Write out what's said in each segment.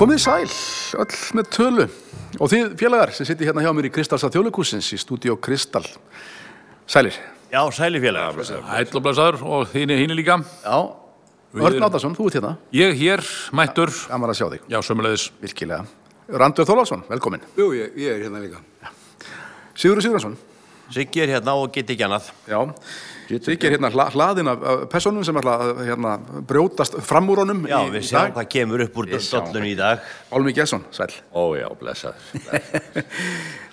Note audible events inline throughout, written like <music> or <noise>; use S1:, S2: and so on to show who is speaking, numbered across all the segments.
S1: Komið sæl, öll með tölu og þið félagar sem sittir hérna hjá mér í Kristalsa þjóðleikúsins í stúdíó Kristall Sælir,
S2: Já, sæli félagar.
S3: Æll og blæsaður og þínu hínu líka.
S1: já, Örn Áttarsson, þú ert hérna,
S3: Ég hér, mættur,
S1: gaman að sjá þig,
S3: já, sömulegðis.
S1: virkilega Randur Þorláksson, velkomin
S4: Jú, ég, ég er hérna líka.
S1: Sigurður Sigurðarsson,
S2: Siggi er hérna og get ekki annað.
S1: já Siggi er hérna hla, hlaðin af af personum sem ætla að hérna, brjótast fram úr honum
S2: Já,
S1: í
S2: við sjáum
S1: dag
S2: hvað kemur upp úr dollun í dag.
S1: Álmi Gesson, sæl
S5: Ó já, blessaður.
S1: <laughs>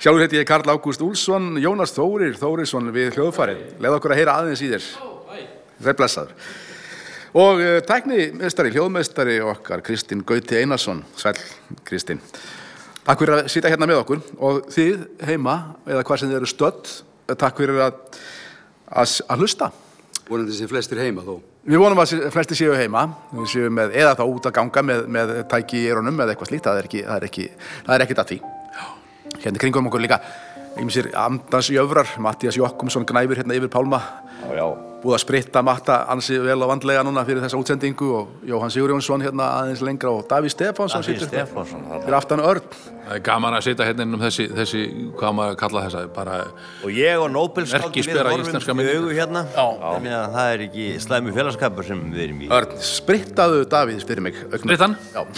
S1: Sjálfur heiti ég Karl Ágúst Úlsson, Jónas Þórir Þórisson við hljóðfarið. Leð okkur að heyra aðeins í þér. Þeir blessaður. Og uh, teknimeistari, hljóðmeistari okkar, Kristinn Gauti Einarsson. Sæl, Kristinn. Takk fyrir að sitja hérna með okkur og þið heima, eða hvað sem þið eru stödd, takk fyrir að, að, að hlusta.
S4: Vonandi sem flestir heima þó.
S1: Við vonum að sé- flesti séu heima, við séu með, eða þá út að ganga með, með tæki í erunum eða eitthvað slíkt, það er ekki, það er ekki, það er ekkit að því. Hérna í kringum okkur líka, einhver sér Andans Jöfrar, Mattias Jokkumsson gnæfur hérna yfir Pálma,
S5: Já, já.
S1: búið að spritta matta ansi vel og vandlega núna fyrir þessa útsendingu og Jóhann Sigurjónsson hérna aðeins lengra og Davíð Stefánsson
S2: Davíð
S1: situr hérna.
S2: Stefánsson, þarna.
S1: fyrir aftan Örn.
S3: Það er gaman að sitja hérna inn um þessi, þessi, hvað maður að kalla þessa, bara,
S2: Og ég og Nobelskáldi við
S3: Merkispera íslenska
S2: horfum í
S3: myndin.
S2: augu hérna. Þannig að það er ekki slæmi félagskapur sem við erum í.
S1: Örn, sprittaðu Davíð fyrir mig. augnablik.
S3: Sprittan?
S1: Já. <laughs>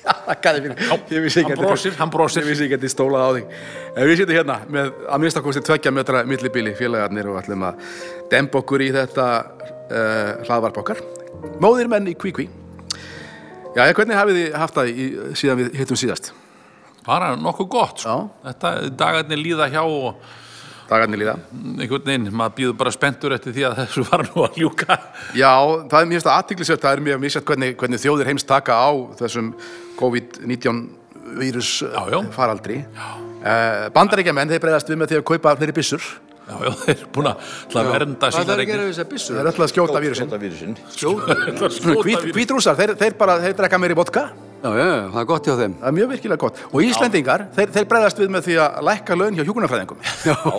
S1: Þakkaði fyrir. Ég vissi ekki
S3: hann
S1: að-
S3: brosir, hann brosir.
S1: Ég vissi ekki að þið stólað á þig. En við sittum hérna með að minnstakosti tveggja metra millibili félagarnir og ætlum að demba okkur í þetta uh, hlaðvarp okkar. Móðir menn í kvíkví. Jæja, hvernig hafið þið haft það í, síðan við hittum síðast?
S3: bara nokkuð gott, sko.
S1: Já.
S3: Þetta, dagarnir líða hjá og
S1: Dagarnir líða.
S3: einhvern veginn, maður býður bara spenntur eftir því að þessu <laughs> var nú að ljúka.
S1: Já, það er mjög aðtiklisvert, það er mjög misjætt hvernig, hvernig þjóðir heims taka á þessum COVID-19 vírus eh,
S3: Já, já.
S1: faraldri. Uh, Bandaríkjamenn, þeir breyðast við með því að kaupa fleiri byssur.
S3: Já, já, þeir eru búin að ætla að vernda
S4: Hvað
S3: sína
S4: þarf að gera
S3: regnir.
S4: við þessar byssur?
S1: Þeir ætla að skjóta vírusin.
S5: Skjóta vírusinn.
S1: Hvít, hvítrúsar, þeir, þeir bara, þeir drekka meiri vodka.
S4: Já, já, já, það er gott hjá þeim.
S1: Það er mjög virkilega gott. Og Íslendingar, þeir, þeir breyðast við með því að lækka laun hjá hjúkunarfræðingum.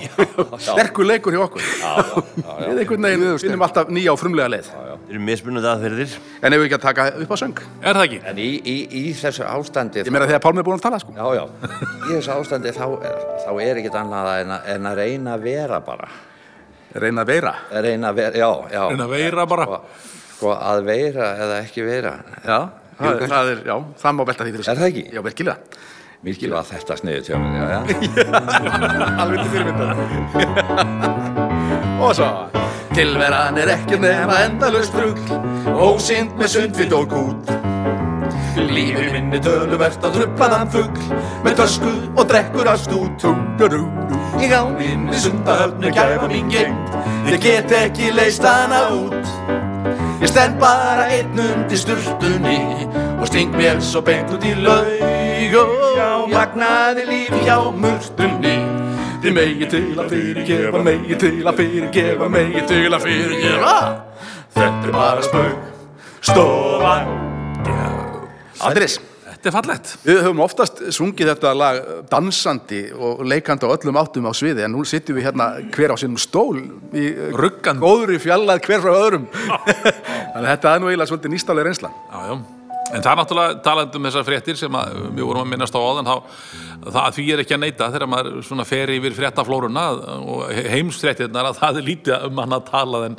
S1: <laughs> Sterkur leikur hjá okkur. <laughs> Við einhvern veginn finnum alltaf nýja og frumlega leið.
S2: Við erum mismunandi aðferðir.
S1: En ef við ekki að taka upp á söng.
S3: Er það ekki?
S5: En í, í, í þessu ástandi,
S1: Ég meira þegar Pálmi er búin að tala, sko.
S5: já, já, í þessu ástandi þá er, þá er ekkit annað en að, en að reyna að vera bara.
S1: Reyna að veira.
S5: Að Reyna að vera, já, já.
S3: En að veira bara.
S5: Sko, sko að vera eða ekki vera.
S1: Já, það, er- það er, já, það má velta því fyrir sig.
S5: Er það ekki?
S1: Já, virkilega.
S5: Mikið var þetta sniðu tjóðum, já, já.
S1: Alveg til fyrirmynda. og svo. Tilveran er ekki nema endalust rugg, ósynd með sundfitt og gút. Lífi minni töluvert að truppaðan fugg, með tösku og drekkur að stút. Tungarú, ég á minni sundahöfnu gæfa mín geimt, ég get ekki leist hana út. Ég stend bara einn undir sturtunni og sting mér svo beint út í laug og já, magnaði líf hjá mörtunni. Þið megi til að fyrirgefa, megi til að fyrirgefa, megi til að fyrirgefa. Þetta er bara spögg, stofan. Andris,
S3: Þetta er fallett.
S1: við höfum oftast sungið þetta lag eh, dansandi og leikandi á öllum áttum á sviði en nú sittum við hérna hver á sínum stól í eh,
S3: Ruggandi.
S1: góður í fjallað hver frá öðrum. <laughs> Þannig að þetta er nú eiginlega svolítið nýstálega reynsla.
S3: Já, já. En það er náttúrulega talandi um þessar fréttir sem að, við vorum að minnast á áðan, þá, það því er ekki að neyta þegar maður svona fer yfir fréttaflórunna og heimsfréttirnar að það er lítið um hann að tala þenn,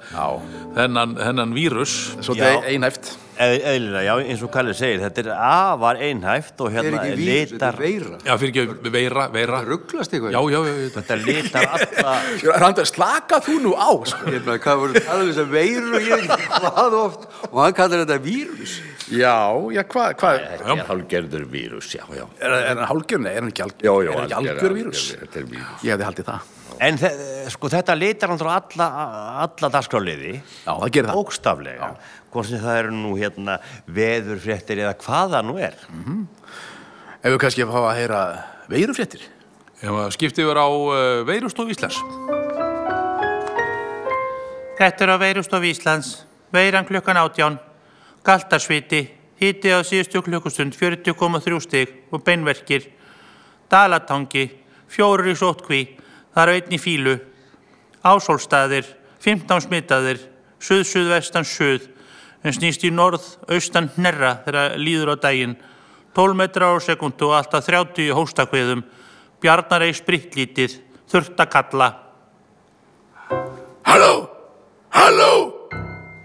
S3: þennan, þennan vírus.
S1: Svolítið
S2: Já.
S1: einhæft.
S2: Eð- Eðlilega, já, eins og Kalli segir, þetta er afar einhæft og
S4: Þetta er
S2: hérna
S4: ekki vírus, þetta
S2: litar,
S4: er veira.
S3: Já, fyrir ekki veira, veira.
S4: Rugglast ykkur?
S3: Já, já, já, já.
S2: þetta litar alla,
S1: Randar, slaka þú nú á sko.
S4: Ég meina, hvað voru talað um þessar veirur og ég ekki hvað oft og hann kallar þetta vírus.
S1: Já, já, hvað hva,
S5: Þetta er hálgerður vírus, já, já.
S1: Er, er hann hálgjörn? Nei, er hann ekki algjörn?
S5: Já, já,
S1: er hann ekki
S5: alger-
S1: algjör vírus?
S5: alger- Þetta er vírus.
S1: Ég hefði haldið það
S2: en þe- sko þetta litar náttúrulega alla, alla dagskráliði.
S1: Já, það gerir það
S2: Bókstaflega, hvort sem það eru nú hérna veðurfréttir eða hvað það nú er.
S1: Ef við kannski fá að heyra veirufréttir
S3: Ef að skipti yfir á uh, veirustof Íslands.
S6: Þetta er á Veirustof Íslands, veiran klukkan átján, galtarsviti, híti á síðustu klukkustund 40,3 stig og beinverkir, dalatangi, fjórir í sótkví, þar á einn í fílu, ásólstaðir, 15 smitaðir, suð-suðvestan suð, en snýst í norð, austan hnerra þegar líður á daginn. 12 metrar á sekundu og alltaf 30 í hóstakveðum. Bjarnarei spritlítið, þurft að kalla.
S1: Halló, halló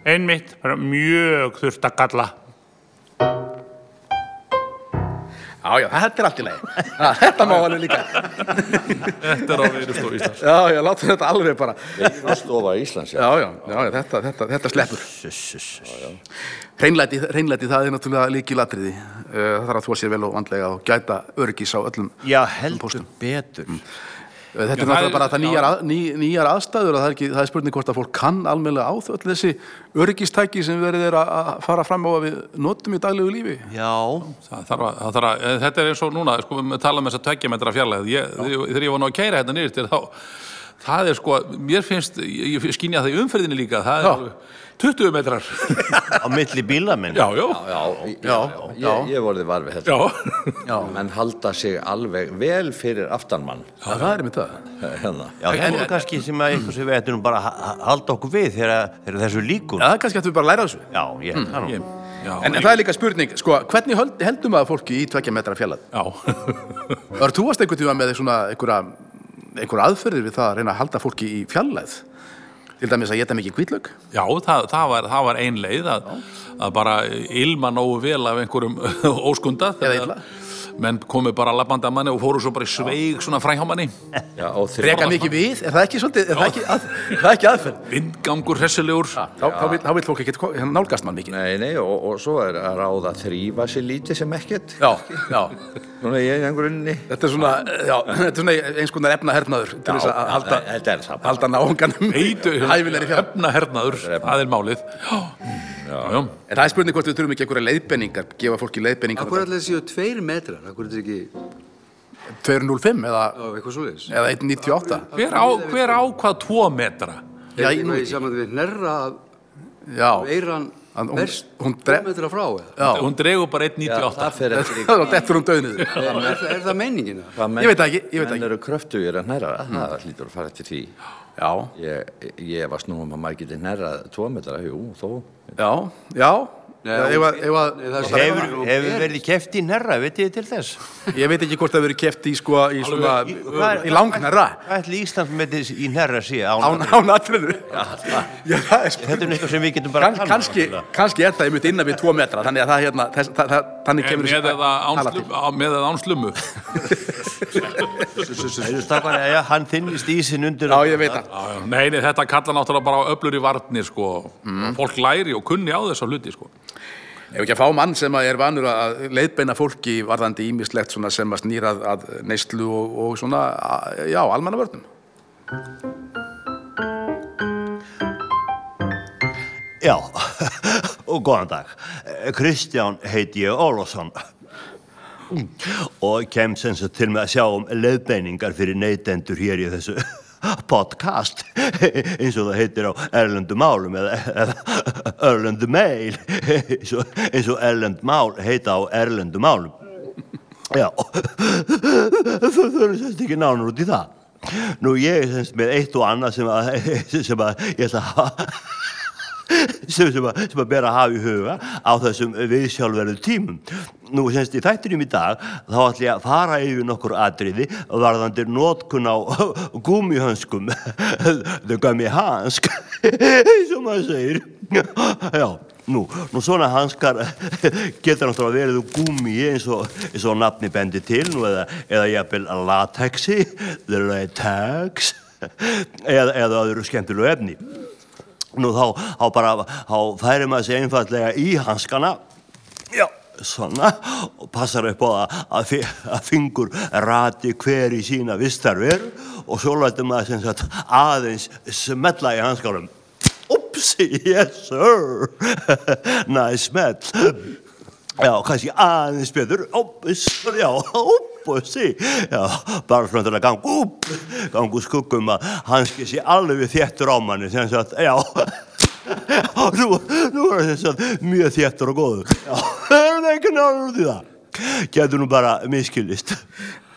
S6: Einmitt, bara mjög þurft að kalla.
S1: Já, já, þetta er allt í lagi Já, Þetta má alveg líka
S3: Þetta er á Veðurstofu Íslands.
S1: Já, já, látum þetta alveg bara
S5: Stofa Íslands, já.
S1: Já, já, já, já þetta, þetta, þetta sleppur Hreinlæti, hreinlæti, það er náttúrulega líki latriði Það þarf að þú að sér vel og vandlega og gæta örgis á öllum
S2: Já, heldur betur.
S1: Þetta
S3: Já,
S1: er
S3: það er-
S1: náttúrulega bara það
S3: já.
S1: nýjar, að, ný, nýjar aðstæður og það er, ekki, það er spurning hvort að fólk kann almennilega á þau öll þessi öryggistæki sem verið er að að fara fram á að við notum í daglegu lífi.
S2: Já,
S3: Það þarf að, það þarf að, en þetta er eins og núna, sko, við talum um þess að tveggja metra fjarlæð. Ég, þegar þegar ég var nú að keira hérna nýrst, þá, það er sko, mér finnst, ég, ég skynja það í umferðinni líka, það
S1: Já.
S3: er 20 metrar.
S2: á milli bíla minn.
S3: <laughs> já, já,
S5: Já, ég-
S1: Já, já.
S5: Ég, ég vorði var við þetta.
S3: já.
S1: Já,
S5: Menn halda sig alveg vel fyrir aftanmann.
S1: það er með það.
S5: Hérna.
S2: Já, þetta er kannski sem að eitthvað sem við ættum bara að ha- halda okkur við þegar, þegar þessu líkur.
S1: Já, það er kannski að við bara að læra þessu.
S2: Já, ég held það nú.
S3: Ég- já.
S1: En, en það er líka spurning, sko, hvernig höld, heldum að fólki í tveggja metra fjallað?
S3: Já,
S1: Var þú varst einhvern tíma með svona einhverja, einhverja aðferðir við það að reyna að halda fólki í fjallæð? Til dæmis að geta mikið kvítlög?
S3: já það, það, var, það var ein leið að, að bara ilma nógu vel af einhverjum <laughs> óskunda.
S1: Eða
S3: þegar
S1: illa.
S3: Menn komu bara labbandi að manni og fóru svo bara í sveig svona fræhjámanni.
S5: Já, og þrjá.
S1: Reka mikið við, er það ekki svolítið, er það ekki, að, það er ekki aðferð?
S3: Vindgangur, hressulegur.
S1: Þá, þá, vil, þá vil fólk ekki hérna, nálgast mann mikið.
S5: Nei, nei, og, og svo er að ráða að þrýfa sér lítið sem ekkert.
S1: Já, já.
S5: Núna ég er einhver unni.
S1: Þetta er svona, já, <clears throat> þetta er svona eins konar efnahernaður til þess að halda,
S5: Þetta er það.
S1: halda náunganum
S3: Eitu,
S1: hæfilegri fjall.
S3: efnahernaður, það er málið. Já, já, já.
S1: En það er spurning hvort við þurfum ekki einhverja leiðbenningar, gefa fólki leiðbenningar.
S4: Akkur allir séu tveir metrar, akkur er þetta ekki,
S1: 205 eða,
S4: á, eitthvað svoleiðis.
S1: eða 198.
S3: Hver, á, hver ákvað tvo metra?
S1: Já,
S4: ég
S1: ég nú
S4: Hérna Í saman við hnerra að
S1: Já,
S4: veiran
S1: Að hún-
S4: berst
S1: hún
S4: tvo
S1: drep-
S4: metra frá eða.
S1: já.
S3: Hún dregur bara
S5: Já,
S3: 1,98.
S5: það fer <laughs> eftir í
S1: <laughs> Það var dettur hún döðnið.
S4: Er, það- er það meiningin það?
S5: hvað menn,
S1: Ég veit það ekki, ég veit það
S5: menn
S1: ekki.
S5: eru kröftugir að hnerra. Það hlýtur að fara eftir því.
S1: Já,
S5: Ég, ég var snúum að maður geti hnerrað tvo metra, jú, þó.
S1: já, já. Eða- eða-
S4: Nei,
S1: eða-
S4: það er
S2: Hefur,
S4: bara-
S2: hefur verið keft í nærra, veit ég til þess.
S1: Ég veit ekki hvort það hefur verið keft í sko í svona,
S2: í- hvað er-
S1: í langnara,
S2: Hvað ætli Ísland með þess í nærra sé
S1: án,
S2: án?
S1: án atriðu. Já, það er spurning.
S2: Þetta er eitthvað sem við getum bara
S1: Kann, kannski, kannski er það einmitt innan við tvo metra þannig að það hérna þess, það, það, þannig
S3: En
S1: kemur
S3: Með eða án
S1: tala
S3: slum- á- með eða án slummu.
S2: Þessu stakar, já, hann þinnist ísin undir.
S1: já ég veit það
S3: Já, já. Nei, nei, þetta kallar náttúrulega bara á öflur í varnir, sko. Fólk læri og kunni á þessa hluti, sko.
S1: ef ekki að fá mann sem að er vanur að leiðbeina fólki varðandi ímislegt svona sem að snýra að- að neyslu og, og svona að- já almanna vörnum
S2: Já, <laughs> og góðan dag. Kristján heiti ég Ólafsson og kem sem sagt til með að sjá um leiðbeiningar fyrir neytendur hér í þessu <laughs> podcast <laughs> eins og það heitir á erlendu málum eða, <laughs> eða erlendu mail <laughs> eins og, eins og erlend mál heita á erlendu málum Já, <laughs> þú þurfum sérst ekki nánur út í það. Nú ég er semst með eitt og annað sem að, <laughs> sem að ég ætla að hafa, <laughs> sem, sem, að, sem að bera að hafa í huga á þessum viðsjálfverðu tímum. Nú semst í þættinum í dag þá ætla ég að fara yfir nokkur atriði varðandi notkun á <laughs> gúmihönskum, <laughs> the gummy hansk, <laughs> eins og maður segir. <laughs> Já. Nú, nú svona hanskar <laughs> getur náttúrulega verið úr gúmi eins og, eins og nafni bendi til nú eða, eða jafnvel latexi, the latex <laughs> eða, eða öðru skemmtilegu efni. Nú þá, þá bara, þá færir maður sér einfallega í hanskana, já, svona, og passar upp á að, að, fi- að fingur rati hver í sína vistarver og svo lætur maður sem sagt aðeins smetla í hanskanum. Oops, yes sir, <laughs> nice smell. Já, kannski aðeins betur, ópus, já, ópusi, já, bara svona til að ganga úp, ganga úr skuggum að hanski sé alveg þéttur á manni, sem sagt, já, nú, nú er það sem sagt mjög <laughs> þéttur og góður, já, það er ekki náður út í það, getur nú bara miskilist.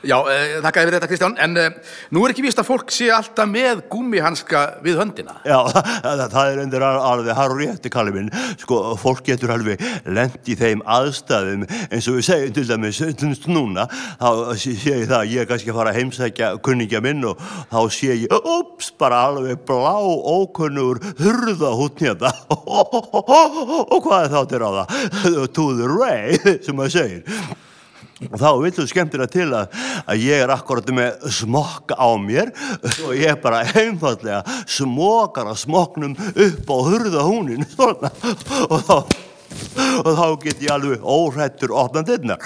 S1: Já, eh, þakka yfir þetta Kristján, en eh, nú er ekki víst að fólk sé alltaf með gúmihanska við höndina.
S2: Já, það, það er endur alveg harrétti kalli minn, sko, fólk getur alveg lent í þeim aðstæðum eins og við segjum til dæmis stundst núna, þá sé sé ég það að ég er kannski að fara að heimsækja kunningja minn og þá sé ég, ups, bara alveg blá ókunnur hurða hútt hérna <laughs> og hvað er þá til ráða? To the ray, <laughs> sem maður segir og þá vil þú skemmtilega til að, að ég er akkurat með smokk á mér <laughs> og ég er bara einfallega smokar að smoknum upp á hurða húnin <laughs> svona og þá og þá get ég alveg óhrættur opnað dyrnar.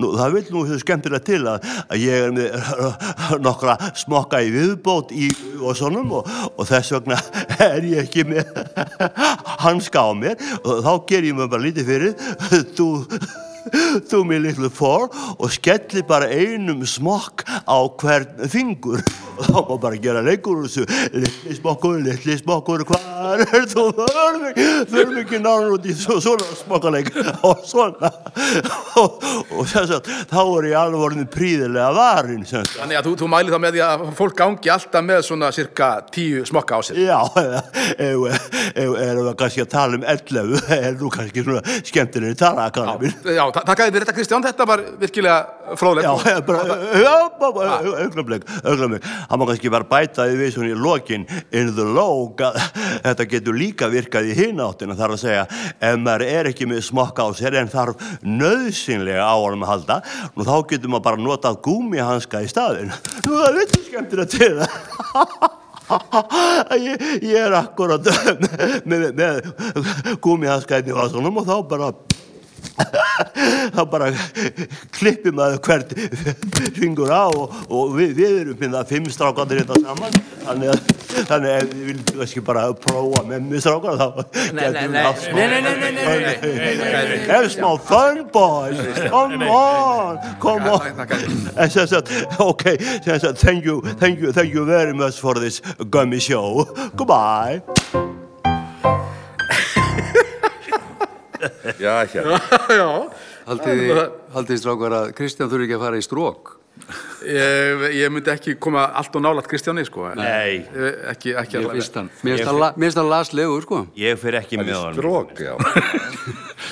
S2: Nú, það vil nú þessu skemmtilega til að, að ég er með <laughs> nokkra smokka í viðbót í og svonum og, og þess vegna <laughs> er ég ekki með <laughs> hanska á mér og þá ger ég mig bara lítið fyrir <laughs> þú þú mér litlu fór og skelli bara einum smokk á hvern fingur og þá má bara gera leikur úr þessu litli smokkur, litli smokkur, hvað er þú þurfum ekki, þurfum ekki náður út í svo, svona smokkaleik <laughs> og svona og, og þess að þá er ég alveg orðin príðilega varin sem sagt.
S1: Þannig að þú, þú mæli þá með því að fólk gangi alltaf með svona cirka tíu smokka á sér.
S2: Já, eða- ef ef- erum við kannski að tala um 11 <laughs> er nú kannski svona skemmtilegri tala að kalla mín
S1: Já, þa- þakka yfir þetta Kristján, þetta var virkilega fróðlegt.
S2: Já, ég bara, já, bara- Ah. bara, augnablik, augnablik. Það má kannski bara bæta því við svona í lokin in the log að <laughs> þetta getur líka virkað í hináttina þar að segja ef maður er ekki með smokka á sér en þarf nöðsynlega á honum að halda nú þá getur maður bara notað gúmihanska í staðin. Nú <laughs> það er vittu skemmtir að til <laughs> það. Ég, ég er akkurat með, <laughs> með, með gúmihanska í vasunum og þá bara þá bara klippir maður hvert fingur á og, og við, við erum hérna fimm strákandir hérna saman þannig að, þannig að við viljum kannski bara prófa með mér strákana þá
S5: Nei, nei,
S2: gætum við
S5: nei,
S2: haft smá-
S5: nei, nei, nei, nei, nei, nei,
S2: Have smá fun boys come on come on En sem sagt, ok sem sagt, thank you, thank you, thank you very much for this gummy show goodbye
S5: <laughs> Já, hérna.
S4: Haldið þið, haldið þið strákar að Kristján þurfi ekki að fara í strók?
S1: Ég, ég myndi ekki koma allt og nálat Kristjáni, sko.
S2: Nei,
S1: Eh, Ekki, ekki
S4: Ég
S1: allavega.
S4: finnst hann. Mér finnst hann la- mér finnst hann laslegur, sko.
S2: ég fyrir ekki með honum
S5: Strók, já.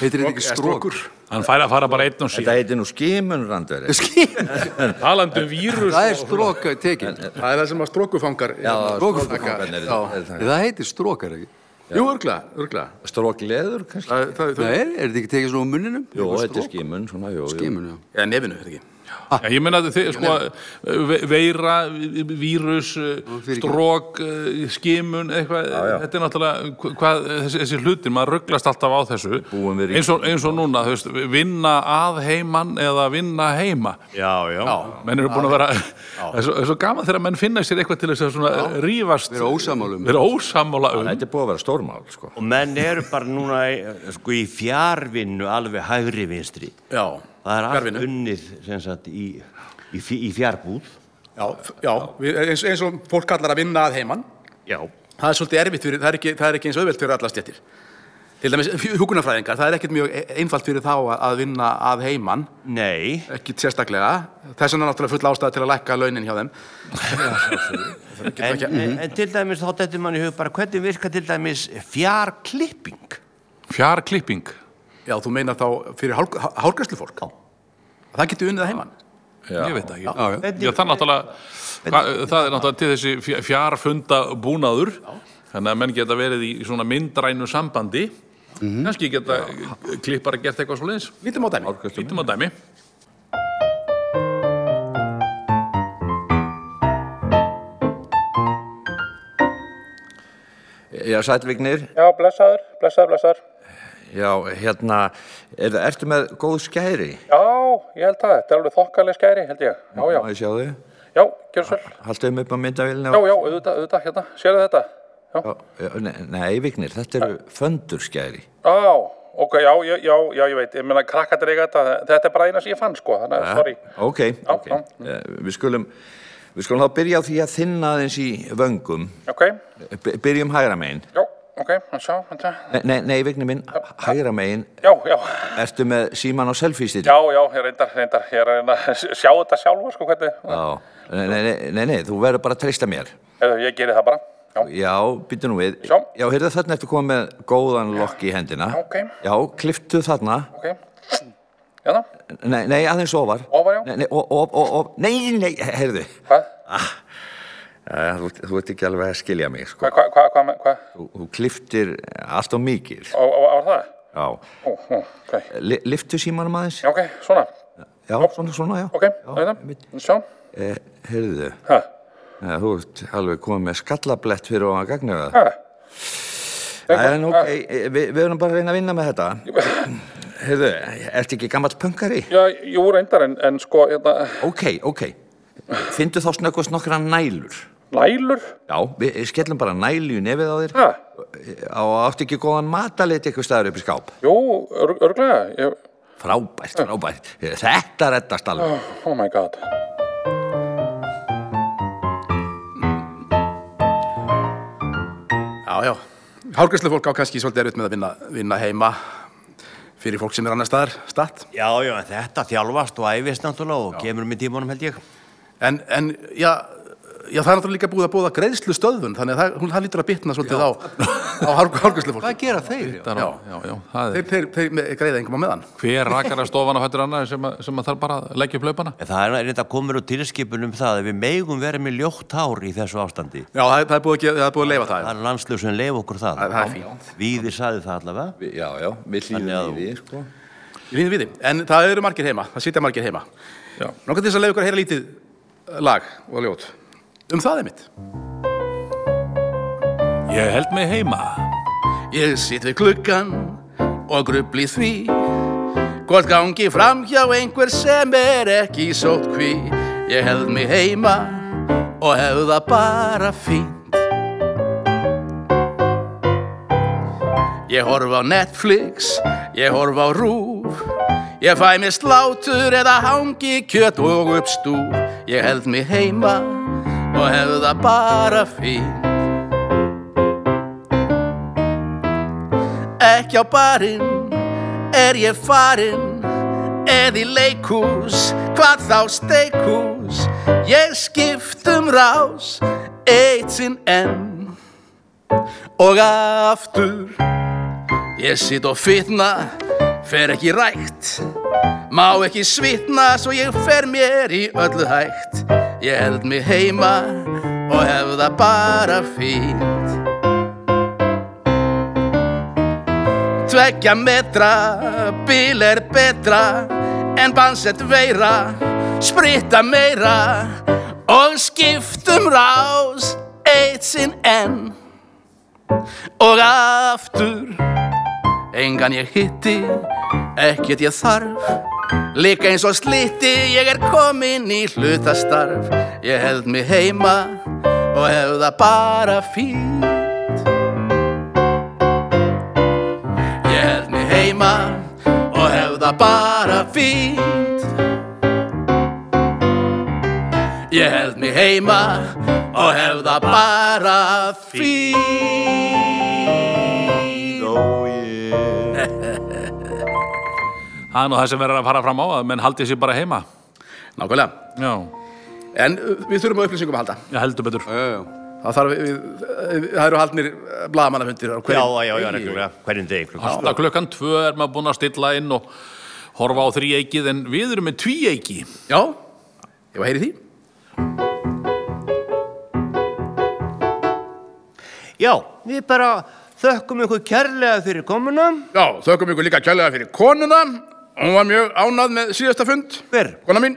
S4: Heitir þetta ekki strók?
S3: Hann fær að fara bara einn og
S5: Þetta
S3: síðan.
S5: heitir nú skimunrandveri.
S4: Skýr!
S3: Talandi um vírus.
S4: Það er strók tekin.
S1: Það er það sem að strókufangar.
S5: Já,
S4: Strókur.
S5: strókfangarnir.
S4: Það heitir strókar ekki.
S1: Jú, örgla, örgla.
S5: Strókleður, kannski?
S1: Það, það, það,
S4: Nei, er er þetta ekki tekið svona á munninum?
S5: Jó,
S4: Eitthvað
S5: þetta er
S4: strok?
S5: skimun, svona, jú. jú.
S4: Skimun, já.
S1: Já, nefinu, er þetta ekki?
S3: Já, ég meina að þið, sko, ve- veira, vírus,
S4: fyrirgefðu.
S3: strók, skimun, eitthvað, þetta er náttúrulega, hva- hvað, þessi, þessi hlutir, maður rugglast alltaf á þessu,
S5: Búum við í-
S3: eins og, eins og núna, þú veist, vinna að heiman eða vinna heima,
S2: Já, já, já.
S3: menn eru búin að vera, það er svo, það er svo gaman þegar menn finna sér eitthvað til þess að svona rífast,
S4: Vera ósammála um.
S3: vera ósammála um,
S5: Þetta er búið að vera stórmál, sko.
S2: Og menn eru bara núna eh, sko í fjárvinnu alveg hægri vinstri.
S1: Já.
S2: Það er allt
S1: Fjarvinnu.
S2: unnið sem sagt í, í, fj- í fjárbúð.
S1: Já, f- já við, eins, eins og fólk kallar að vinna að heiman.
S2: Já.
S1: Það er svolítið erfitt fyrir, það er ekki, það er ekki eins auðvelt fyrir alla stjættir. Til dæmis hugunafræðingar, það er ekkert mjög e- einfalt fyrir þá að, að vinna að heiman,
S2: Nei.
S1: ekki sérstaklega. Þess vegna er náttúrulega full ástæða til að lækka launin hjá þeim.
S2: En, en, en til dæmis þá dettur mann í hug bara hvernig virka til dæmis fjárklipping.
S3: fjarklipping,
S1: Já, þú meinar þá fyrir hálgræslu fólk. Já. Það getur unnið að heiman.
S3: ég veit það ekki.
S4: Já, já.
S3: Já, það er náttúrulega, hva, það er náttúrulega til þessi fj- fjarfunda búnaður, þannig að menn geta verið í svona myndrænu sambandi, kannski geta klippar að gert eitthvað svo leiðis.
S1: Lítum á dæmi.
S3: Lítum á dæmi.
S5: Já, Sætlvignir,
S7: Já, blessaður, blessaður, blessaður.
S5: já, hérna, er, ertu með góð skæri?
S7: Já, ég held það, þetta er alveg þokkaleg skæri, held ég. Já, já,
S5: Má ég sjá þau?
S7: já, gjör svo. vel.
S5: Haltu þeim upp á myndavélina?
S7: Já, já, auðvitað, auðvitað, hérna, sérðu þetta? Já,
S5: Já, já, Nei, nei, Vignir, þetta eru föndurskæri.
S7: já, ok, já, já, já, já, ég veit, ég meina krakkarnir eiga þetta, þetta er bara eina sem ég fann, sko, þannig að, sorry.
S5: Ok, ok.
S7: já.
S5: Eh, Við skulum, við skulum þá byrja á því að þinna aðeins í vöngum.
S7: Ok,
S5: B- Byrjum hægra megin.
S7: já, ok, að sjá, þetta.
S5: Nei, nei, nei vigni minn, hægra megin,
S7: Já, já,
S5: ertu með síman á selfie-stil?
S7: já, já, ég reyndar, reyndar, ég er að reyna að sjá þetta sjálfur, sko, hvernig.
S5: Eh, Nei, nei, nei, nei, nei, þú verður bara að treysta mér.
S7: Heyrðu, Ég geri það bara, já,
S5: Já, býttu nú við.
S7: Sjá.
S5: Já, heyrðu þarna eftir komið með góðan lokk í hendina.
S7: Já, ok.
S5: Já, klipptu þarna.
S7: ok. Já, það,
S5: Nei, nei, aðeins ofar.
S7: Ofar, já.
S5: Nei, nei, og, og, og, og, nei, nei, heyrðu.
S7: hvað,
S5: Eh, Þú, þú ert ekki alveg að skilja mig, sko.
S7: hvað, hvað, hvað, hvað, hvað,
S5: Þú, þú klipptir allt á mikið.
S7: og, og, var það?
S5: Já.
S7: Ó, ó, ok,
S5: Li, liftu símanum aðeins?
S7: já, ok, svona,
S5: Já, svona, svona, já.
S7: ok, það er
S5: einmitt.
S7: það, sjá,
S5: Eh, heyrðu,
S7: hæ,
S5: eh, þú ert alveg komið með skallablett fyrir ofan gagnauða.
S7: hæ,
S5: Það er nú, e, við við erum bara að reyna að vinna með þetta. Heyrðu, ertu ekki gammal pöngari?
S7: já, jú, reyndar, en, en sko, hérna,
S5: Ok, ok. Fyndu þá snöggvast nokkra nælur.
S7: nælur,
S5: Já, við skellum bara nælu í nefið á þér.
S7: hæ,
S5: Og áttu ekki góðan matalit eitthvað staður upp í skáp.
S7: jú, örg, örglega, ég,
S5: Frábært, frábært. Þetta reddast alveg.
S7: oh my god,
S1: Já, já. Hárgræslu fólk á kannski svolítið erfitt með að vinna, vinna heima fyrir fólk sem er annar staðar, statt.
S2: Já, já, en þetta þjálfast og æfist náttúrulega og kemur með tímanum held ég.
S1: En, en já, já, það er náttúrulega líka búið að búða greiðslu stöðun, þannig að það, hún, það lítur að bitna svolítið á, á hárgræslu fólki.
S2: Hvað gera þeir? já?
S3: já, já, já, það er
S1: Þeir, þeir, þeir með- greiða engum á meðan.
S3: hver rakar að stofan á hættur annar sem, að- sem að þarf bara að leggja upp laupana
S2: En Það er reynda komur úr tilskipunum um það að við megum verið með ljótt hár í þessu ástandi.
S1: Já, það, er- það er búið, að, ge- það er búið að leifa það.
S2: Það er landslöf sem leif okkur það.
S1: Það- það er fínt.
S2: Víðir saði það allavega.
S5: Já, já, við
S2: Þannig að-
S5: hlýðum í því, sko.
S1: Ég líði við þið, en það eru margir heima, það sitja margir heima.
S3: Já.
S1: Nókvæmt til þess að leiða ykkur að heyra lítið eh, lag og ljót. Um það er mitt.
S3: ég held mig heima
S1: Ég sitt við klukkan og grubli því Hvort gangi fram hjá einhver sem er ekki í sótkví Ég held mig heima og hefðu það bara fínt Ég horf á Netflix, ég horf á Rúf Ég fæ mér slátur eða hangi kjöt og uppstúf Ég held mig heima og hefðu það bara fínt ekki á barinn Er ég farinn eða í leikús Hvað þá steikús Ég skipt um rás Eitt sinn enn Og aftur Ég sitt og fitna Fer ekki rækt Má ekki svitna Svo ég fer mér í öllu hægt Ég held mig heima Og hef það bara fínt Tveggja metra, bíl er betra En bansett veira, spritta meira Og skiptum rás, eitt sinn enn Og aftur Engan ég hitti, ekkert ég þarf Líka eins og slitti, ég er komin í hlutastarf Ég held mig heima og hef það bara fínt Ég held mig heima og hef það bara fínt Ég held mig heima og hef það bara fínt
S2: Ó, ég...
S3: það er nú það sem verður að fara fram á að menn haldi sér bara heima
S1: Nákvæmlega,
S3: já,
S1: en uh, við þurfum á upplýsingum að halda
S3: já heldur betur
S1: Það, þarf, við, við, það eru haldnir uh, blaðamannafundir á
S2: Já,
S1: hverjum
S2: já, já, reglulega. Hverjum degi klukkan?
S3: alltaf klukkan tvö er maður búin að stilla inn og horfa á þríeikið en við erum með tvíeiki
S1: Já, ég var að heyri því
S2: Já, við bara þökkum ykkur kærlega fyrir komuna.
S1: Já, þökkum ykkur líka kjærlega fyrir konuna Hún var mjög ánað með síðasta fund
S2: Hver?
S1: Kona mín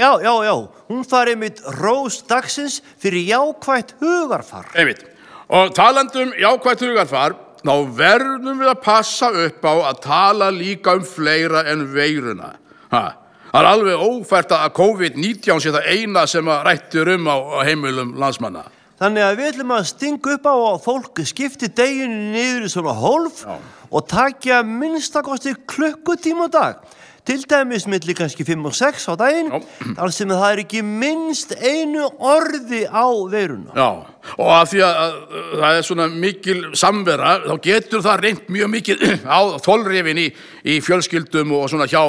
S2: Já, já, já, hún farið mitt rós dagsins fyrir jákvætt hugarfar.
S1: Einmitt. Og talandum jákvætt hugarfar, þá verðum við að passa upp á að tala líka um fleira en veiruna. Ha. Það er alveg ófært að COVID-19 sé það eina sem að rættur um á á heimilum landsmanna.
S2: Þannig að við ætlum að stinga upp á að fólk skipti deginu niður í svona hólf og takja minnstakosti klukkutíma á dag til dæmis milli kannski 5 og 6 á daginn, þar sem það er ekki minnst einu orði á veiruna.
S1: Já, og af því að, að, að það er svona mikil samvera, þá getur það reynd mjög mikið <clears throat> á þólrifin í, í fjölskyldum og svona hjá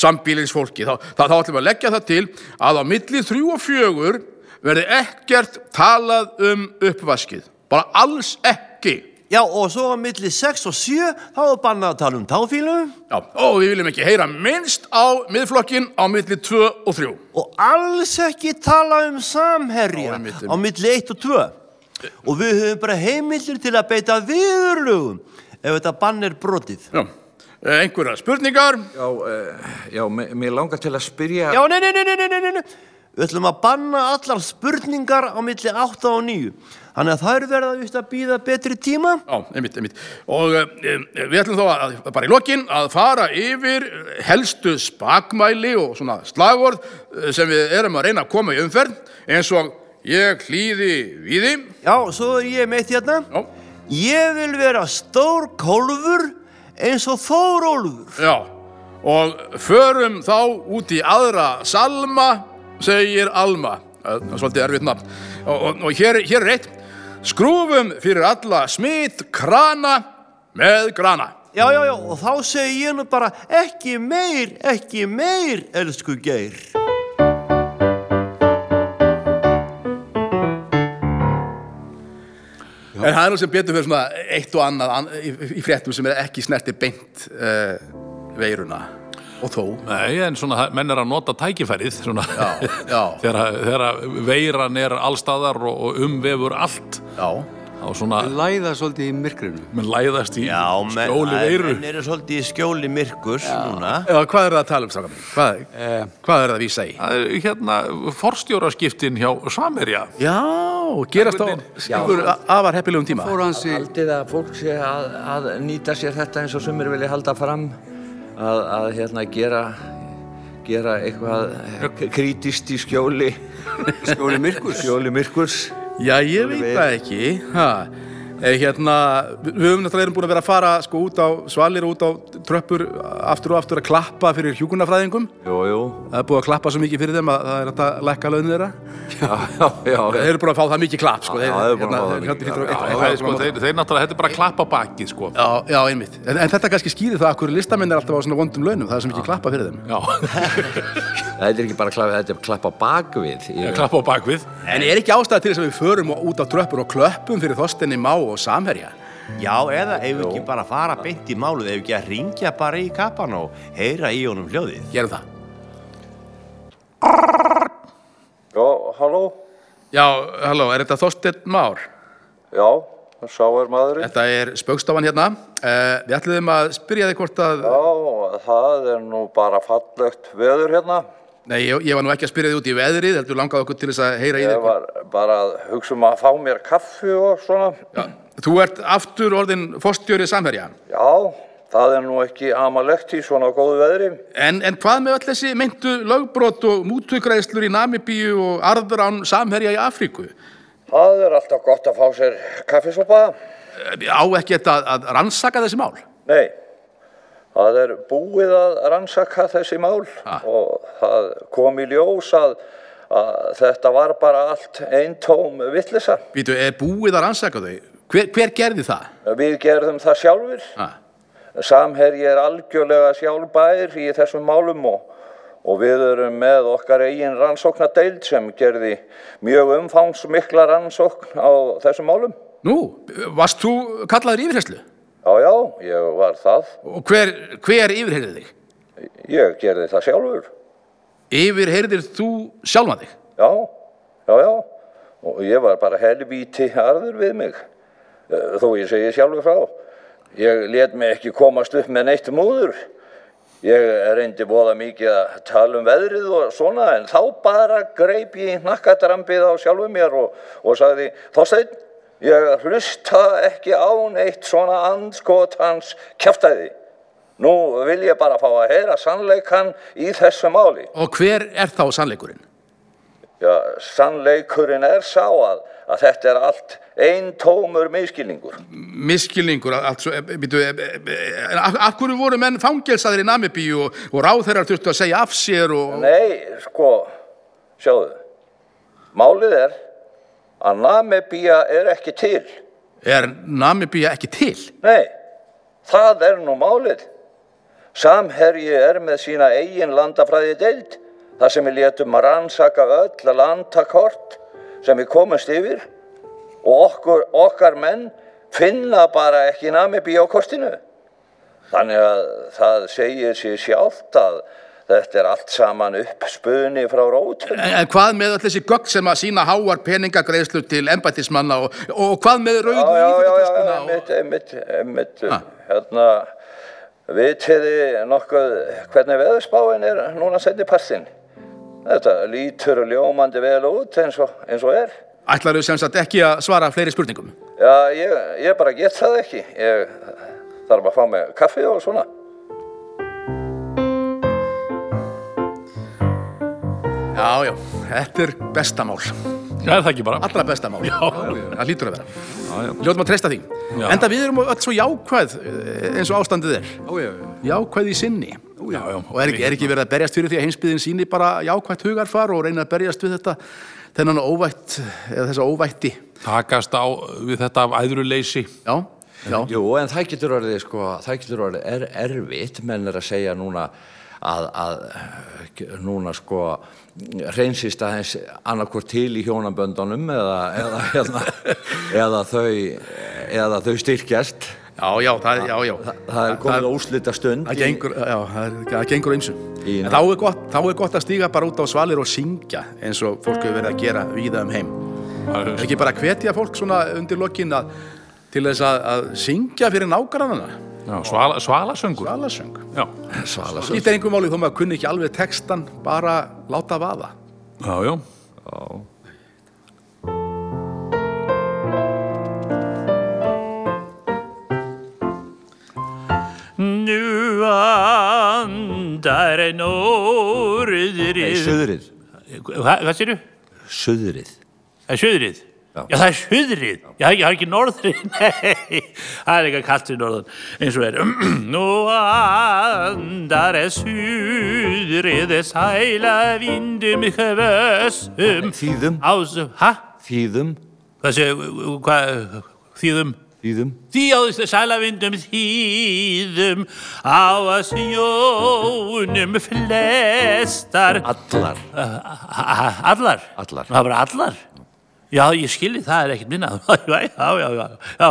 S1: sambílingsfólki. Þá, þá, þá ætlum við að leggja það til að á milli þrjú og fjögur verði ekkert talað um uppvaskið. Bara alls ekki.
S2: Já, og svo á milli 6 og 7, þá er bannað að tala um táfílu
S1: Já, og við viljum ekki heyra minnst á miðflokkin á milli tvö og þrjú.
S2: og alls ekki tala um
S1: Já,
S2: samherja
S1: einmitt, einmitt.
S2: á milli 1 og 2. Og við höfum bara heimildir til að beita viðurlugum ef þetta bann er brotið.
S1: Já, Eh, einhverjar spurningar?
S5: Já, uh, já, mér mér langar til að spyrja...
S2: Já, nei, nei, nei, nei, nei, nei, nei, nei. Við ætlum að banna allar spurningar á milli 8 og 9. Þannig að þær verða vist að býða betri tíma.
S1: Já, einmitt, einmitt. Og eh, eh, við ætlum þá að, bara í lokin að fara yfir eh, helstu spakmæli og svona slagorð eh, sem við erum að reyna að koma í umferð eins og ég hlýði við þið.
S2: Já, svo er ég meitt hérna.
S1: Já,
S2: Ég vil vera stór kólfur eins og Þórólfur.
S1: já. Og förum þá út í aðra salma, segir Alma. Eh, Það er svolítið erfitt nafn. Og, og, og hér, hér er eitt. Skrúfum fyrir alla smit krana með grana.
S2: Já, já, já, og þá segi ég nú bara ekki meir, ekki meir, elsku geir.
S1: En það er nú sem betur fyrir svona eitt og annað an í, í fréttum sem er ekki snerti beint uh, veiruna og þó.
S3: Nei, en svona það- menn er að nota tækifærið svona,
S1: Já, já.
S3: <laughs> þegar, að- þegar að veiran er allstaðar og, og umvefur allt
S1: Já,
S3: og svona
S4: Læða svolítið í myrkrinu.
S3: menn læðast í
S2: Já, menn,
S3: skjóli veiru
S2: menn eru svolítið í skjóli myrkurs núna.
S1: Já, hvað er það að tala um, strákar mín? Hvað, hvað er það að vísa í?
S3: Það er hérna forstjóraskiptin hjá Samerja
S1: Já, gerast á einhver afar heppilegum tíma.
S4: Fór hans í...
S5: Haldið að fólk sé að, að nýta sér þetta eins og sumir vilja halda fram að, að hérna gera gera eitthvað krítist í skjóli skjóli myrkurs skjóli myrkurs
S1: Já, ég veit það ekki. Ha. Eh, Hérna, við við höfum náttúrulega erum búin að vera að fara sko út á svalir og út á tröppur aftur og aftur að klappa fyrir hjúkunarfræðingum.
S5: Jú, jú
S1: Það er búið að klappa svo mikið fyrir þeim að það er hægt að lækka launinu þeirra.
S5: Já, já,
S1: Þeir
S5: já
S1: eru búin að fá það mikið klapp, sko.
S5: Já,
S1: Þeir-
S5: þeir eru búin að
S1: hérna, þeir- hérna, eitt- eitt-
S5: fá það mikið klapp. Já,
S3: Það er
S1: eitt-
S3: sko, þeir, þeir náttúrulega, þetta er bara að klappa bakið sko.
S1: Já, já, einmitt. En, en þetta kannski skýrir það að hverju listamenn er alltaf á svona vondum launum, það er sem ekki klappa fyrir þeim.
S3: Já, <laughs>
S5: Þetta er ekki bara klappa, þetta er klappa bakvið í-
S3: klappa á bakvið
S1: En er ekki ástæða til þess að við förum og- út á tröppur og klöppum fyrir þostinni má og samherja?
S2: Já, eða ef ekki bara að fara beint í málið, ef ekki að ringja bara í kappan og heyra í honum hljóðið.
S1: Gerum það.
S8: Já, halló,
S1: Já, halló, er þetta þostinn már?
S8: já, sá er maðurinn.
S1: Þetta er spöggstofan hérna. Uh, við ætluðum að spyrja þig hvort að...
S8: Já, það er nú bara fallegt veður hérna.
S1: Nei, ég, ég var nú ekki að spyrja þig út í veðrið, heldur langaði okkur til þess að heyra í
S8: Ég
S1: þig. hvort-
S8: var bara að hugsa um að fá mér kaffi og svona.
S1: Já. Þú ert aftur orðin fórstjóri samherja.
S8: Já, það er nú ekki amalegt í svona góðu veðri.
S1: En, en hvað með öll þessi meintu lögbrot og mútugræðslur í Namibíu og arðrán samherja í Afríku?
S8: Það er alltaf gott að fá sér kaffisopa.
S1: á ekkert að, að rannsaka þessi mál
S8: Nei, það er búið að rannsaka þessi mál og það kom í ljós að, að þetta var bara allt eintóm vittlisa.
S1: Býtu, er búið að rannsaka þau? Hver, hver gerði það?
S8: Við gerðum það sjálfur.
S1: Ha.
S8: Samherji er algjörlega sjálfbær í þessum málum og, og við erum með okkar eigin rannsóknadeild sem gerði mjög umfangsmikla rannsókn á þessum málum.
S1: Nú, varst þú kallaður yfirherslu?
S8: Já, já, ég var það.
S1: Og hver, hver yfirheyrði þig?
S8: Ég gerði það sjálfur.
S1: Yfirheyrðir þú sjálfan þig?
S8: Já, já, já. Og ég var bara helvíti arður við mig, eh, þó ég segi sjálfur frá. Ég let mig ekki komast upp með neitt múður. Ég reyndi voða mikið að tala um veðrið og svona, en þá bara greip ég nakkadrambið á sjálfu mér og, og sagði, Þorsteinn, ég hlusta ekki á neitt svona andskotans kjæftæði. Nú vil ég bara fá að heyra sannleikan í þessu máli.
S1: Og hver er þá sannleikurinn?
S8: Já, sannleikurinn er sá að, að þetta er allt ein tómur miskilningur.
S1: miskilningur að allt svo, býtu, e, af, af hverju voru menn fangelsaðir í Namibíu og, og ráðherrar þurftu að segja af sér og...
S8: Nei, sko, sjáðu, málið er að Namibía er ekki til.
S1: Er Namibíu ekki til?
S8: Nei, það er nú málið. Samherji er með sína eigin landafræði deild, þar sem við létum að rannsaka öll landakort sem við komumst yfir og okkur, okkar menn finna bara ekki Namibía á kortinu. Þannig að það segir sér sjálft að þetta er allt saman uppspunni frá rótum.
S1: En, en Eh, hvað með öll þessi gögg sem að sína háar peningagreislu til embættismanna og, og hvað með rauðu
S8: já, já, já, já,
S1: íþróttatöskuna og...
S8: einmitt, einmitt, einmitt, hérna, vitiði nokkuð hvernig veðurspáin er núna setni partinn. Þetta lítur ljómandi vel út eins og, eins og er.
S1: Ætlarðu sem sagt ekki að svara fleiri spurningum?
S8: Já, ég, ég bara get það ekki. Ég þarf að fá mig kaffi og svona.
S1: Já, já, þetta er bestamál
S3: Já, er það ekki bara.
S1: allra bestamál, já, það hlýtur að vera
S3: já.
S1: Ljóðum að treysta því
S3: Já.
S1: Enda við erum öll svo jákvæð eh, eins og ástandið er
S4: já,
S1: Jákvæð í sinni
S3: Já, já.
S1: Og er ekki, er ekki verið að berjast fyrir því að heimsbyðin síni bara jákvætt hugarfar og reyna að berjast við þetta þennan óvætt, eða þessa óvætti
S3: Takast á við þetta af æðruleysi.
S1: Já, já,
S5: Jú, en það getur orðið, sko, það getur orðið er, erfitt, menn er að segja núna að, að eh, núna sko reynsist aðeins annarkvort til í hjónaböndunum eða, eða, eða, eða, þau, eða þau styrkjast.
S1: já, já, það, já, já.
S5: Þa, það er komið óslita stund.
S1: Það gengur, já, það er- það gengur eins og
S5: Í-
S1: En þá er, gott, þá er gott að stíga bara út á svalir og syngja eins og fólk hefur verið að gera víða um heim Er ekki bara að hvetja fólk svona undir lokin að, til þess að, að syngja fyrir nágrannana
S3: Já, svala, svalasöngur.
S1: Svalasöng
S3: Já,
S5: Svala,
S1: Skýta einhver máli þó maður kunni ekki alveg textan bara láta vaða
S3: já, já.
S6: Nú andar
S5: Nei,
S6: norðrið
S5: suðrið.
S6: Hva- Hvað sér
S5: Suðrið.
S6: Það er suðrið? Já. það er suðrið. Já, það er ekki- það er ekki norðrið. Nei, það er eitthvað kallt í norðan. Eins og er. Nú andar er suðrið, er sæla vindum hvössum.
S5: Þýðum.
S6: Ásum, hæ?
S5: Þýðum.
S6: Hvað séu, hvað, þýðum?
S5: Þýðum.
S6: Þjóðst salavindum þýðum á að sjónum flestar
S5: Allar.
S6: A- Allar?
S5: Allar.
S6: Það var bara allar? Já, ég skilji, það er ekkert minna. <laughs> já, já, já, já. já.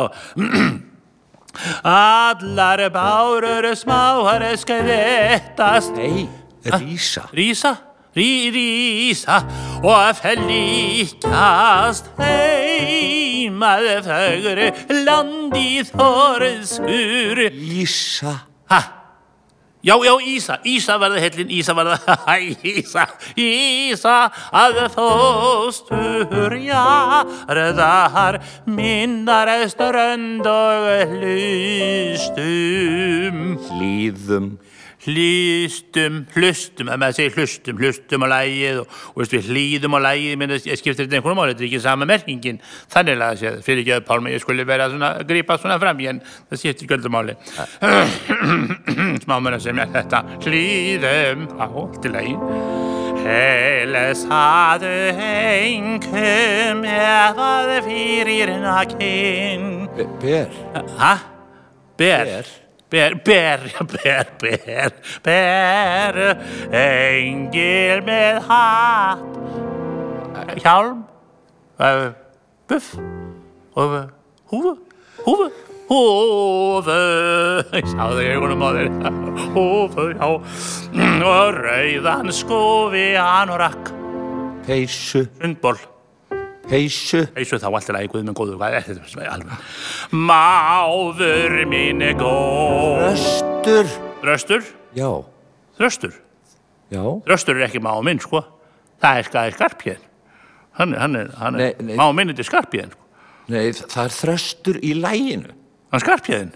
S6: <clears throat> allar bárur smáar skvettast.
S5: Nei, rísa.
S6: Rísa, rí, rísa og flíkast heimað fögru landi þorskur.
S5: Lísa.
S6: Ha? Já, já, Ísa, Ísa verða hellin, Ísa verða, <laughs> hæ, Ísa, Ísa, að þóstur jarðar minnar strönd og hlustum.
S5: Líðum.
S6: Hlustum, hlustum, að maður segir hlustum, hlustum á lægið og, og veist, við hlýðum á lægið, menn ég skiptir þetta einhvern máli, þetta er ekki sama merkingin, þannig að það fyrir ekki að Pálmi, ég skulle vera svona, grípa svona fram í en það skiptir <clears throat> göldumáli. Smámur að semja þetta, hlýðum, á, allt í lægin. Helles að engum ef að fyrir nakinn.
S5: Be- Ber.
S6: Hæ? Ber. Ber, ber, ja, ber, ber, ber, engil með hatt, hjálm, uh, buff og uh, húfu, húfu, húfu, ég sá það í augunum á þér, húfu, já, og rauðan skúfi, hann og rakk,
S5: Peysu.
S6: sundból.
S5: Peysu.
S6: Eins og þá allt er að guð minn góðu, hvað er þetta sem er alveg? Máður mín er góð.
S5: Östur.
S6: Þröstur,
S5: Já.
S6: þröstur.
S5: Já.
S6: Þröstur er ekki máður minn, sko. Það er, það er skarpjén. Hann er, hann er, hann
S5: Nei,
S6: er,
S5: nei.
S6: máður minn er skarpjén, sko.
S5: Nei, þ- það er þröstur í læginu.
S6: Hann er skarpjén.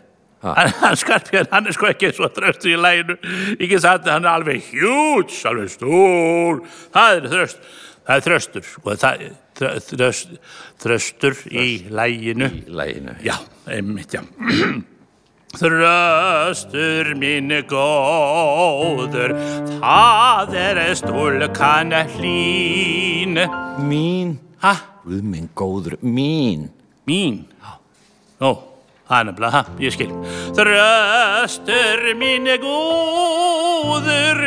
S5: Ha.
S6: Hann, hann skarpjén, hann er sko ekki svo þröstur í læginu. Ekki satt, hann er alveg hjúts, alveg stúr. Það er þröst. það er þröstur og það þrö- þröst, þröstur í læginu
S5: í læginu.
S6: já, einmitt já <clears throat> Þröstur mín góður það er stúlkan hlín
S5: Mín,
S6: ha,
S5: guð minn góður, mín.
S6: mín Ó, það er nefnilega, ha, ég skil. Þröstur mín góður,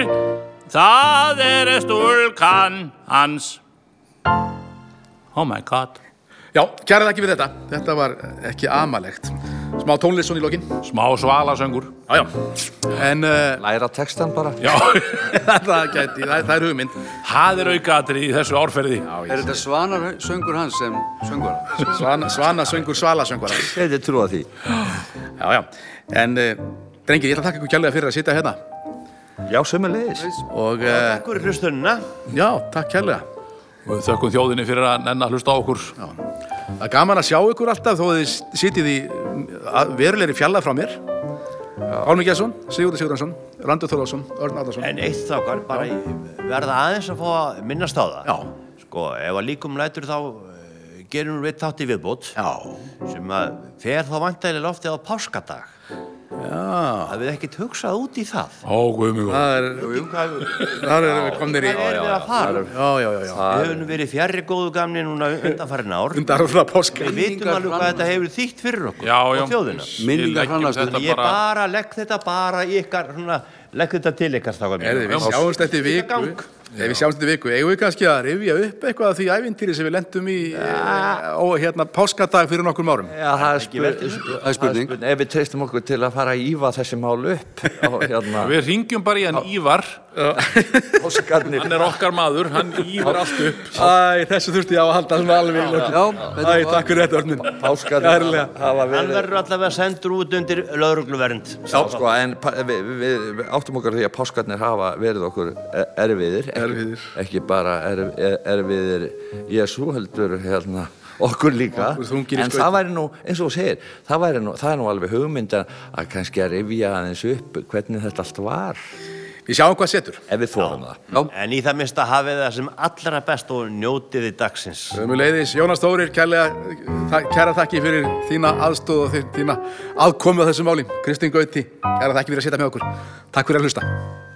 S6: það er stúlkan hans. Oh my god.
S1: Já, kærað ekki við þetta. Þetta var ekki amalegt. Smá tónlist svona í lokin.
S3: Smá svalasöngur.
S1: Já, já. En uh,
S5: Læra textan bara.
S3: Já,
S1: <laughs>
S3: <laughs>
S1: það gæti, það, það er hugmynd.
S3: það er aukaðatri í þessu árferði.
S4: Er þetta svanar söngur hans sem söngur?
S1: Svana, svana söngur, svala söngur.
S5: Þetta er trúa því.
S1: Já, já. En uh, drengir, ég ætla að þakka ykkur kjærlega fyrir að sitja hérna.
S5: Já, sömulegis.
S1: Og uh,
S2: Takk fyrir hlustunina.
S1: já, takk kjærlega.
S3: Við þökkum þjóðinni fyrir að nenn að hlusta á okkur.
S1: Það er gaman að sjá ykkur alltaf þó að þið sitjið í verulegri fjalla frá mér. Álmi Gjesson, Sigurður Sigurðansson, Randur Þorlásson, Örn Árnason.
S2: En eitt þákar, bara ég verða aðeins að fá að minnast á það.
S1: Já.
S2: Sko, ef að líkum lætur þá eh, gerum við þátt í viðbót
S1: Já,
S2: sem að fer þá vantæli loftið á páskadag. Já. Það við ekkert hugsað út í það.
S3: Ó, guðmjög góð.
S1: það er,
S2: Jú, hvað
S1: það er komnir í.
S2: hvað erum við að fara?
S1: Já, já, já, já.
S2: Við höfum verið fjarri góðu gamni núna undanfærin ár.
S1: Undar og svona páska.
S2: Við vitum alveg hvað þetta hefur þýtt fyrir okkur
S3: Já, já.
S2: og þjóðina.
S4: Minningar hrannast
S3: þetta
S2: Ég
S3: bara...
S2: bara legg þetta bara í ykkar, svona, legg þetta til ykkar strákar
S1: Erði,
S2: mín.
S1: við sjáumst eftir viku
S2: gang.
S1: Ef við sjáumst eftir viku, eigum við kannski að rifja upp eitthvað af því ævintýri sem við lendum í ja. og hérna páskadag fyrir nokkrum árum
S5: Já, það er spurning.
S4: Það er spurning.
S5: Ef við treystum okkur til að fara að ífa þessi mál upp <laughs> á hérna
S3: Við ringjum bara í hann Ívar,
S5: óskarnir.
S3: hann er okkar maður, hann Ívar <laughs> allt upp.
S1: Æ, þessu þurfti ég á að halda svona alveg í lokin.
S4: Já,
S1: Æ, takk fyrir þetta orðin
S5: Páskarnir
S1: Ærlega.
S5: hafa
S2: Hann
S5: verið.
S2: verður allavega sendur út undir lögregluvernd.
S5: Já, sko, en pa- við, við, við áttum okkur á því að páskarnir hafa verið okkur er- erfiðir ekki,
S1: Erfiðir.
S5: ekki bara er, er, erfiðir Jésu heldur hérna, okkur líka
S1: Okkur þungir í
S5: en
S1: skautum.
S5: það væri nú, eins og þú segir það, væri nú, það er nú alveg hugmynd að að kannski að rifja aðeins upp hvernig þetta allt var
S1: Við sjáum hvað setur
S5: ef við fórum það
S2: En í það minnst að hafið það sem allra best og njótiði dagsins.
S1: Sömuleiðis, Jónas Þórir, kærlega, þa- kæra þakki fyrir þína aðstóð og þín- þína aðkomu að þessu máli Kristinn Gauti, kæra þakki fyrir að sitja með okkur Takk fyrir að hlusta